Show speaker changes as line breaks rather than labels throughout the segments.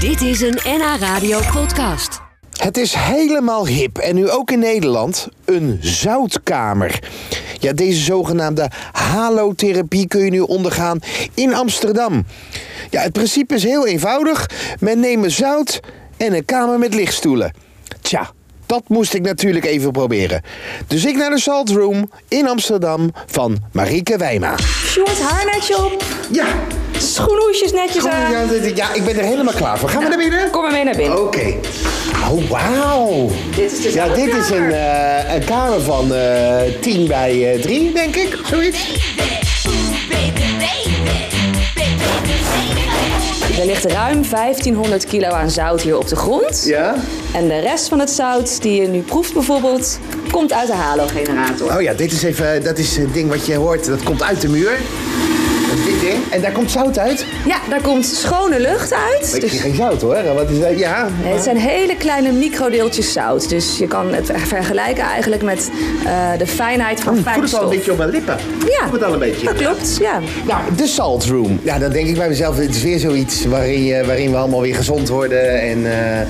Dit is een NH Radio podcast.
Het is helemaal hip en nu ook in Nederland een zoutkamer. Ja, deze zogenaamde halotherapie kun je nu ondergaan in Amsterdam. Ja, het principe is heel eenvoudig. Men neemt zout en een kamer met lichtstoelen. Tja, dat moest ik natuurlijk even proberen. Dus ik naar de Salt Room in Amsterdam van Marieke Wijma.
Short haar netje op,
Ja,
schoenhoesjes netjes aan.
ja, ja, ik ben er helemaal klaar voor. Gaan we naar binnen?
Kom maar mee naar binnen.
Oké. Oh, wauw.
Dit is dus
ja,
een
dit is een,
kamer.
eh, een kamer van eh 10 bij eh, 3, denk ik. Zoiets.
Er ligt ruim 1500 kilo aan zout hier op de grond.
Ja.
En de rest van het zout die je nu proeft bijvoorbeeld, komt uit de halo-generator.
Oh ja, dit is even, dat is het ding wat je hoort. Dat komt uit de muur. Dat is dit ding. En daar komt zout uit.
Ja, daar komt schone lucht uit.
Ik zie
Dus
geen zout hoor. Wat is dat? Ja.
Nee, het zijn hele kleine microdeeltjes zout. Dus je kan het vergelijken eigenlijk met eh, de fijnheid van
Ik voel het al een
fijnstof.
beetje op mijn lippen. Ik
Ja,
voel het al een beetje.
dat klopt. Ja.
Nou, de Salt Room. Ja, dan denk ik bij mezelf, dit is weer zoiets waarin, je- waarin we allemaal weer gezond worden. En, eh,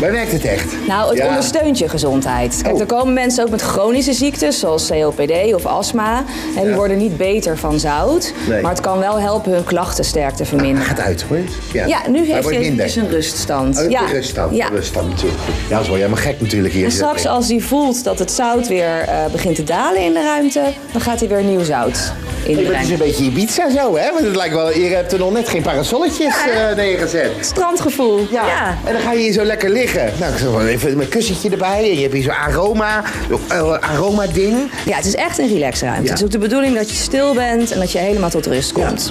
waar werkt het echt?
Nou, het
Ja.
ondersteunt je gezondheid. Kijk,
Oh.
er komen mensen ook met chronische ziektes, zoals COPD of astma. En die
Ja.
worden niet beter van zout.
Nee.
Maar het kan wel helpen hun klachtensterkte verminderen.
Gaat uit hoor.
Ja, nu
Hij
heeft
wordt
hij
minder.
eventjes een ruststand.
Oh,
ja.
ja. Ruststand,
Ja.
ruststand natuurlijk. Ja, dat is wel helemaal gek natuurlijk hier.
En straks als hij voelt dat het zout weer eh, begint te dalen in de ruimte, dan gaat hij weer nieuw zout
Hey, maar het is
inbrengen.
dus een beetje Ibiza zo, hè? Want het lijkt wel, je hebt er nog net geen parasolletjes eh, neergezet.
Strandgevoel. Ja.
En dan ga je hier zo lekker liggen. Nou, ik zal wel even mijn kussentje erbij. En je hebt hier zo'n aroma, eh, aroma-ding.
Ja, het is echt een relaxruimte.
Ja.
Het is ook de bedoeling dat je stil bent en dat je helemaal tot rust komt.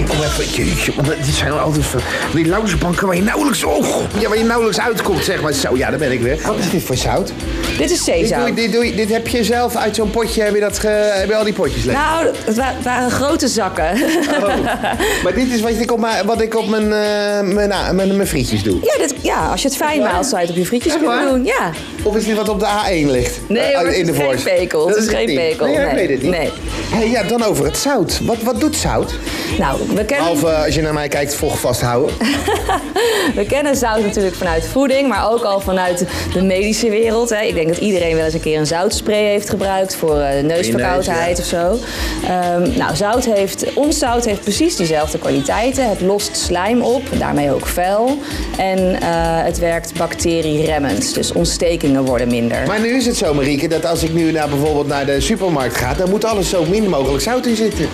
Ik kom even, jeetje, want dit zijn altijd van die loungebanken waar je nauwelijks, oh, ja, waar je nauwelijks uitkomt, zeg maar. Zo, ja, daar ben ik weer. Wat is dit voor zout?
Dit is
Dit, doe, je-
zeezout.
dit, doe, je- dit heb je zelf uit zo'n potje, heb je, dat ge- heb je al die potjes leeg?
Nou, het wa- waren grote zakken.
Oh. Maar dit is wat ik op mijn, wat ik op mijn, eh, mijn, nou, mijn, mijn frietjes doe.
Ja, dit, ja, als je het fijn maalt, zou je het op je frietjes
Echt
kunnen
waar?
doen. Ja.
Of is dit wat op de A1 ligt?
Nee,
Eh,
hoor, het is geen
Voice.
pekel, het
Dat
is geen
niet.
pekel,
Nee, ik
nee.
weet het niet.
Nee.
Hey, ja, dan over het zout. Wat, wat doet zout?
Nou, we kennen,
Behalve eh, als je naar mij kijkt, vocht vasthouden.
we kennen zout natuurlijk vanuit voeding, maar ook al vanuit de medische wereld. Hè. Ik denk dat iedereen wel eens een keer een zoutspray heeft gebruikt voor eh, neusverkoudheid
ja.
of zo. Ehm, nou, zout heeft, ons zout heeft precies diezelfde kwaliteiten. Het lost slijm op, daarmee ook vuil. En eh, het werkt bacterieremmend, dus ontstekingen worden minder.
Maar nu is het zo, Marieke, dat als ik nu naar, bijvoorbeeld naar de supermarkt ga... dan moet alles zo min mogelijk zout in zitten.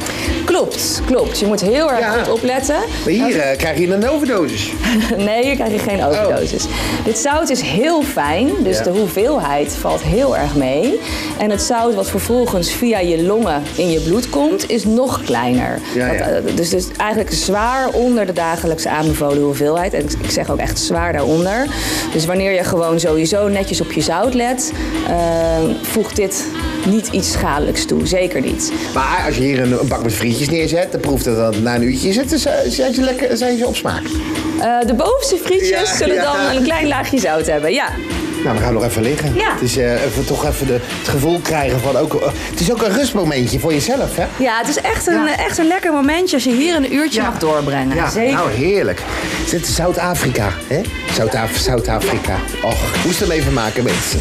Klopt, klopt. Je moet heel erg
Ja.
goed opletten.
Maar hier eh, krijg je een overdosis.
Nee, je krijgt geen overdosis. Dit zout is heel fijn, dus
Oh. Ja.
de hoeveelheid valt heel erg mee. En het zout wat vervolgens via je longen in je bloed komt, is nog kleiner.
Ja, ja.
Dat, eh, dus, dus eigenlijk zwaar onder de dagelijkse aanbevolen hoeveelheid. En ik, ik zeg ook echt zwaar daaronder. Dus wanneer je gewoon sowieso netjes op je zout let, eh, voegt dit niet iets schadelijks toe. Zeker niet.
Maar als je hier een, een bak met frietjes neerzet... dan proeft het dan na een uurtje. Zitten, ze- zijn, ze lekker, zijn ze op smaak.
Eh, de bovenste frietjes
Ja,
zullen
ja.
dan een klein laagje zout hebben. Ja,
Nou, we gaan nog even liggen.
Ja.
Het is eh, even, toch even de, het gevoel krijgen van ook... eh, het is ook een rustmomentje voor jezelf, hè?
ja het is echt een, eh, echt een lekker momentje als je hier een uurtje mag doorbrengen.
Ja,
Zeker.
nou heerlijk. Dit is Zuid-Afrika, hè? Zuid-Af- Zuid-Afrika. Och, moest hem even maken, mensen.